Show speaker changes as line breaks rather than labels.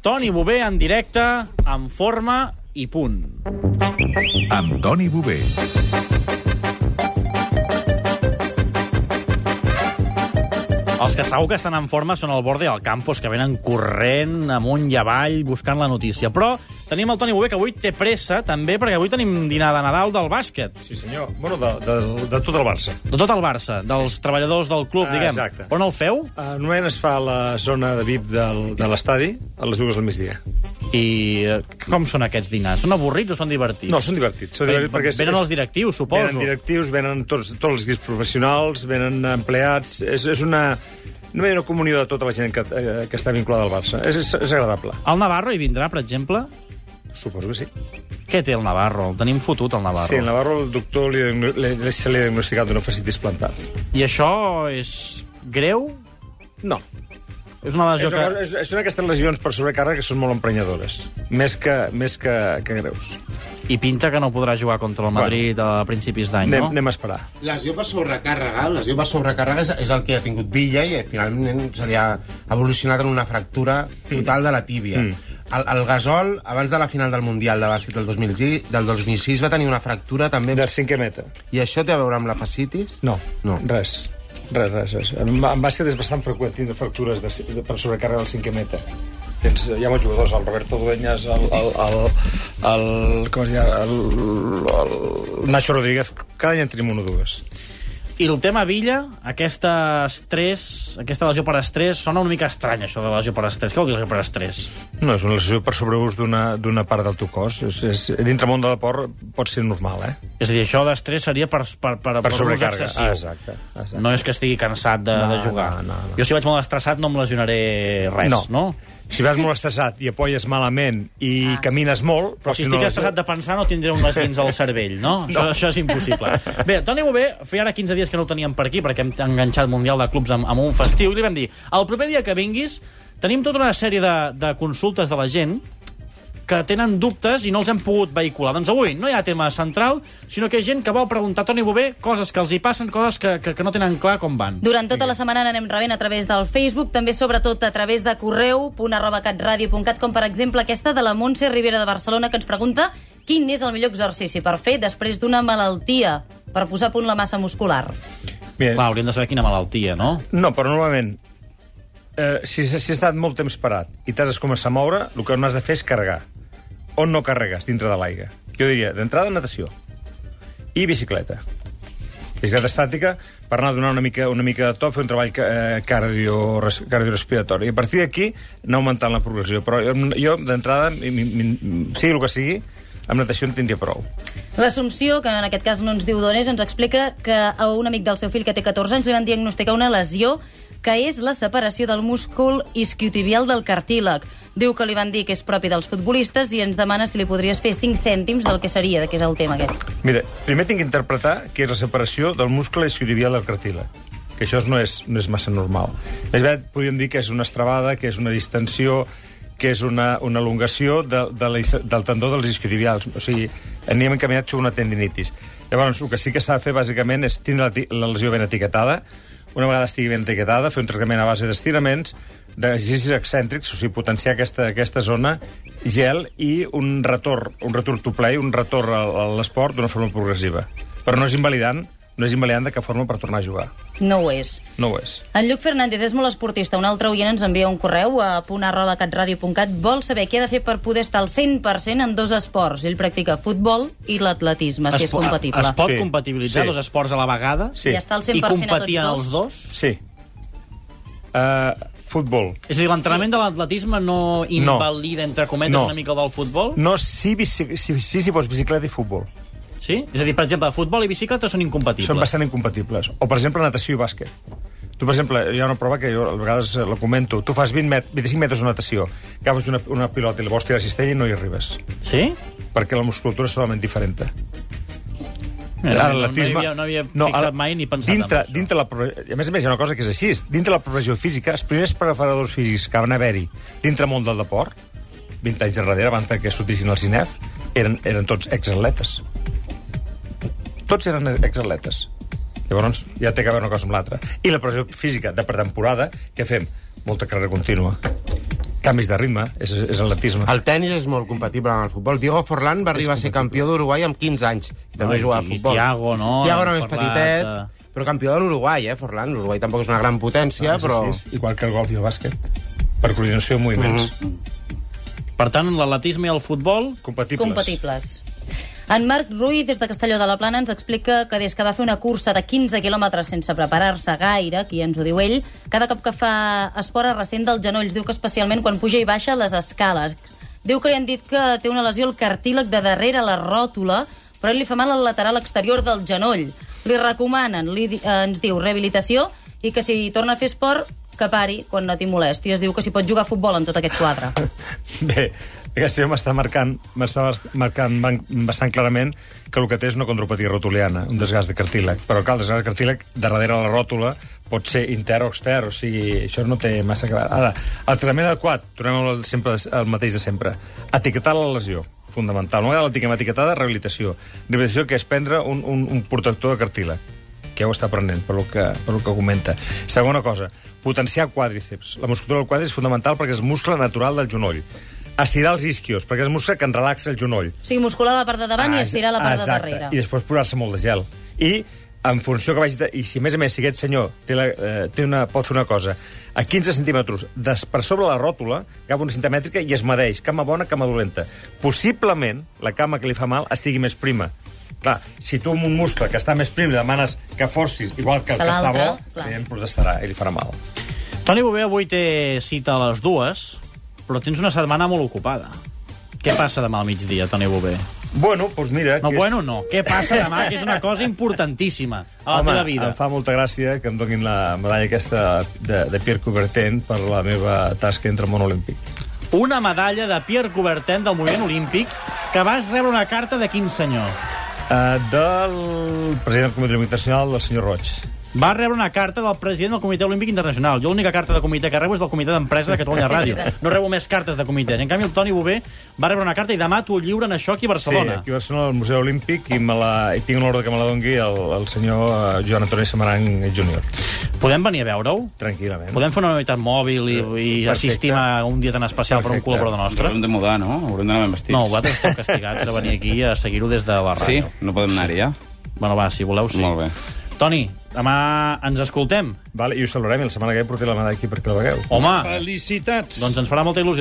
Toni Bové en directe, en forma i punt.
Amb Toni Bové.
Els que segur que estan en forma són al borde del campus, que venen corrent amunt i avall buscant la notícia. Però tenim el Toni Bové, que avui té pressa, també, perquè avui tenim dinar de Nadal del bàsquet.
Sí, senyor. Bueno, de, de, de tot el Barça.
De tot el Barça, dels treballadors del club,
Ah,
diguem.
exacte.
On el feu?
Uh, Noent es fa a la zona de VIP del, de l'estadi a les dues del migdia.
I eh, com són aquests dinars? Són avorrits o són divertits?
No, són divertits. Són
Ven-
divertits perquè és-
venen
és-
els directius, suposo.
Venen directius, venen tots, tots els guies professionals, venen empleats... És, és una... No hi ha una comunió de tota la gent que, eh, que està vinculada al Barça. És, és, és agradable.
El Navarro hi vindrà, per exemple?
Suposo que sí.
Què té el Navarro? El tenim fotut, el Navarro.
Sí, en Navarro el doctor li, li, li, se li ha diagnosticat una fascitis plantar.
I això és greu?
No.
És una
És,
lesió que...
és, és una d'aquestes lesions per sobrecàrrega que són molt emprenyadores. Més que, més que, que greus.
I pinta que no podrà jugar contra el Madrid a principis d'any,
Anem,
no?
anem a esperar.
Lesió per sobrecàrrega, lesió per sobrecàrrega és, és el que ha tingut Villa i eh, finalment se li ha evolucionat en una fractura total de la tíbia. El, el Gasol, abans de la final del Mundial de bàsquet del 2006, del 2006 va tenir una fractura també,
Del cinquè meta.
i això té a veure amb la fascitis?
No,
No.
res. Res, res, res. En, en bàsquet és bastant freqüent tindre fractures de, de, per sobrecàrrega del cinquè meta. Tens, hi ha molts jugadors, el Roberto Dueñas, el, el, el, el, com es diu, el, el Nacho Rodríguez, cada any en tenim un o dues.
I el tema Villa, aquesta estrès, aquesta lesió per estrès, sona una mica estrany, això de lesió per estrès. Què vol dir lesió per estrès?
No, és una lesió per sobreús d'una d'una part del teu cos. És, és, dintre món de la por pot ser normal, eh?
És a dir, això d'estrès seria per, per, per,
Per
l'ús
sobrecàrrega.
excessiu.
Ah, exacte, exacte.
No és que estigui cansat de,
No,
de jugar.
no, no, no.
Jo si vaig molt estressat no em lesionaré res, no?
Si vas molt estressat i apoyes malament i ah. camines molt... Però
Però si estic estressat de pensar no tindré un lesins al cervell, no? no. Això, això és impossible. Bé, Toni Bové, feia ara 15 dies que no el teníem per aquí perquè hem enganxat Mundial de Clubs amb, amb un festiu i li vam dir, el proper dia que vinguis tenim tota una sèrie de, de consultes de la gent que tenen dubtes i no els hem pogut vehicular. Doncs avui no hi ha tema central, sinó que hi ha gent que vol preguntar a Toni Bové coses que els hi passen, coses que, que, que no tenen clar com van.
Durant tota la setmana n'anem rebent a través del Facebook, també sobretot a través de correu, punt com per exemple aquesta de la Montse Rivera de Barcelona, que ens pregunta quin és el millor exercici per fer després d'una malaltia per posar a punt la massa muscular.
Mira,
Clar, hauríem de saber quina malaltia, no?
No, però normalment, eh, si, si has estat molt temps parat i t'has de començar a moure, el que no has de fer és carregar. On no carregues, dintre de l'aigua. Jo diria, d'entrada, natació. I bicicleta. Bicicleta estàtica, per anar a donar una mica, una mica de to, fer un treball ca- eh, cardio, res- cardiorespiratori. I a partir d'aquí, anar augmentant la progressió. Però jo, jo d'entrada, mi- mi- mi- sigui el que sigui, amb natació en tindria prou.
L'Assumpció, que en aquest cas no ens diu d'on és, ens explica que a un amic del seu fill que té 14 anys li van diagnosticar una lesió que és la separació del múscul isquiotibial del cartílag. Diu que li van dir que és propi dels futbolistes i ens demana si li podries fer 5 cèntims del que seria, de què és el tema aquest.
Mira, primer tinc que interpretar què és la separació del muscle isquiotibial del cartílag, que això no és, no és massa normal. Més bé, podríem dir que és una estrabada, que és una distensió, que és una, una elongació de, de la, is- del tendó dels isquiotibials. O sigui, anem encaminats a una tendinitis. Llavors, el que sí que s'ha de fer, bàsicament, és tindre la, ti- la lesió ben etiquetada, una vegada estigui ben etiquetada, fer un tractament a base d'estiraments, d'exercicis excèntrics, o sigui, potenciar aquesta, aquesta zona, gel i un retorn, un retorn to play, un retorn a, a l'esport d'una forma progressiva. Però no és invalidant, no és invalidant de cap forma per tornar a jugar.
No ho és.
No ho és.
En Lluc Fernández és molt esportista. Un altre oient ens envia un correu a punarrodacatradio.cat. Vol saber què ha de fer per poder estar al 100% en dos esports. Ell practica futbol i l'atletisme, si és
po-
compatible.
es pot
Sí.
compatibilitzar
Sí.
dos esports a la vegada?
Sí.
I estar al 100%
I competir
a
en
tots
els
dos.
dos?
Sí. Uh, futbol.
És a dir, l'entrenament de l'atletisme no invalida, entre cometes,
No.
una mica el del futbol?
No, sí, bici, sí, sí, si fos bicicleta i futbol.
Sí? És a dir, per exemple, futbol i bicicleta són incompatibles.
Són bastant incompatibles. O, per exemple, natació i bàsquet. Tu, per exemple, hi ha una prova que jo a vegades eh, la comento. Tu fas 20 met 25 metres de natació, agafes una, una pilota i la vols tirar a cistella i no hi arribes,
Sí?
perquè la musculatura és totalment diferent.
Mira,
Ara,
no, no, hi
l'atletisme-
havia, no havia no, fixat
ara-
mai ni pensat
dintre,
en això.
dintre la, pro- a més a més, hi ha una cosa que és així. Dintre la progressió física, els primers preparadors físics que van haver-hi dintre el món del deport, 20 anys enrere, abans que sortissin els INEF, eren, eren tots exatletes. Tots eren exatletes. Llavors, ja té que veure una cosa amb l'altra. I la pressió física de pretemporada, que fem? Molta carrera contínua. canvis de ritme, és, és atletisme.
El tennis és molt compatible amb el futbol. Diego Forlán va arribar a ser campió d'Uruguai amb 15 anys. I també
No, i-
jugava a
i
futbol.
Thiago, no?
Thiago era
Hem
més
parlat,
petitet, però campió de l'Uruguai, eh, Forlán. L'Uruguai tampoc és una gran potència, però...
Ah, Sí, és igual que el golf i el bàsquet. Per coordinació de moviments. Mm -hmm.
Per tant, l'atletisme i el futbol...
Compatibles.
compatibles. En Marc Ruiz, des de Castelló de la Plana, ens explica que des que va fer una cursa de 15 quilòmetres sense preparar-se gaire, aquí ens ho diu ell, cada cop que fa esport es ressent dels genolls. Diu que especialment quan puja i baixa les escales. Diu que li han dit que té una lesió al cartíleg de darrere la ròtula, però li fa mal al lateral exterior del genoll. Li recomanen, li, di- eh, ens diu, rehabilitació i que si torna a fer esport, que pari quan no t'hi molesti. Es diu que s'hi pot jugar a futbol amb tot aquest quadre.
Bé, Gràcia m'està marcant, m'està marcant ban- bastant clarament que el que té és una condropatia rotuliana, un desgast de cartílag. Però clar, el desgast de cartílag de darrere de la ròtula pot ser intern o extern, o sigui, això no té massa que... veure. Ara, el tractament adequat, tornem al, sempre, al mateix de sempre, etiquetar la lesió fundamental. Una vegada la tinguem etiquetada, rehabilitació. Rehabilitació que és prendre un, un, un protector de cartílag que ja ho està aprenent, pel que, pel que comenta. Segona cosa, potenciar quàdriceps. La musculatura del quàdriceps és fundamental perquè és muscle natural del genoll. Estirar els isquios, perquè és muscle que en relaxa el genoll.
O sigui, muscular la part de davant i
Ah,
estirar la part
exacte.
de
I
darrere.
després posar-se molt de gel. I en funció que vagi... De... I si, a més a més, si aquest senyor té la, eh, té una, pot fer una cosa, a 15 centímetres des, per sobre la ròtula, agafa una cinta mètrica i es medeix, cama bona, cama dolenta. Possiblement, la cama que li fa mal estigui més prima. Clar, si tu amb un muscle que està més prim li demanes que forcis igual que el
Que
que, està
l'altre,
bo,
clar.
evidentment protestarà i li farà mal.
Toni Bové avui té cita a les dues, però tens una setmana molt ocupada. Què passa demà al migdia, Toni Bové?
Bueno, doncs mira...
No,
que
bueno, no. Què passa demà, que és una cosa importantíssima a la
Home,
teva vida.
em fa molta gràcia que em donin la medalla aquesta de, de Pierre Coubertin per la meva tasca entre món olímpic.
Una medalla de Pierre Coubertin del moviment olímpic que vas rebre una carta de quin senyor?
Eh, del president del Comitè Olímpic Internacional, del senyor Roig.
Va rebre una carta del president del Comitè Olímpic Internacional. Jo l'única carta de comitè que rebo és del Comitè d'Empresa de Catalunya
Sí,
Ràdio.
veritat.
No rebo més cartes de comitès. En canvi, el Toni Bové va rebre una carta i demà t'ho lliuren això aquí a Barcelona.
Sí, aquí a Barcelona, al Museu Olímpic, i, me la, i tinc l'ordre que me la dongui el, el senyor eh, Joan Antoni Samarang Júnior.
Podem venir a veure-ho?
Tranquil·lament.
Podem fer una unitat mòbil i, i
Perfecte.
assistim a un dia tan especial per un
Perfecte.
col·laborador
Ens
nostre?
haurem de mudar, no? Haurem d'anar ben vestits.
No, vosaltres esteu castigats a venir aquí a seguir-ho des de la
Sí,
ràdio.
no podem anar-hi, ja?
Bueno, va, si voleu, sí.
Molt bé.
Toni, demà ens escoltem.
Vale, I us celebrem, i la setmana que ve portaré la medalla aquí perquè la vegueu.
Home,
Felicitats!
doncs ens farà molta il·lusió.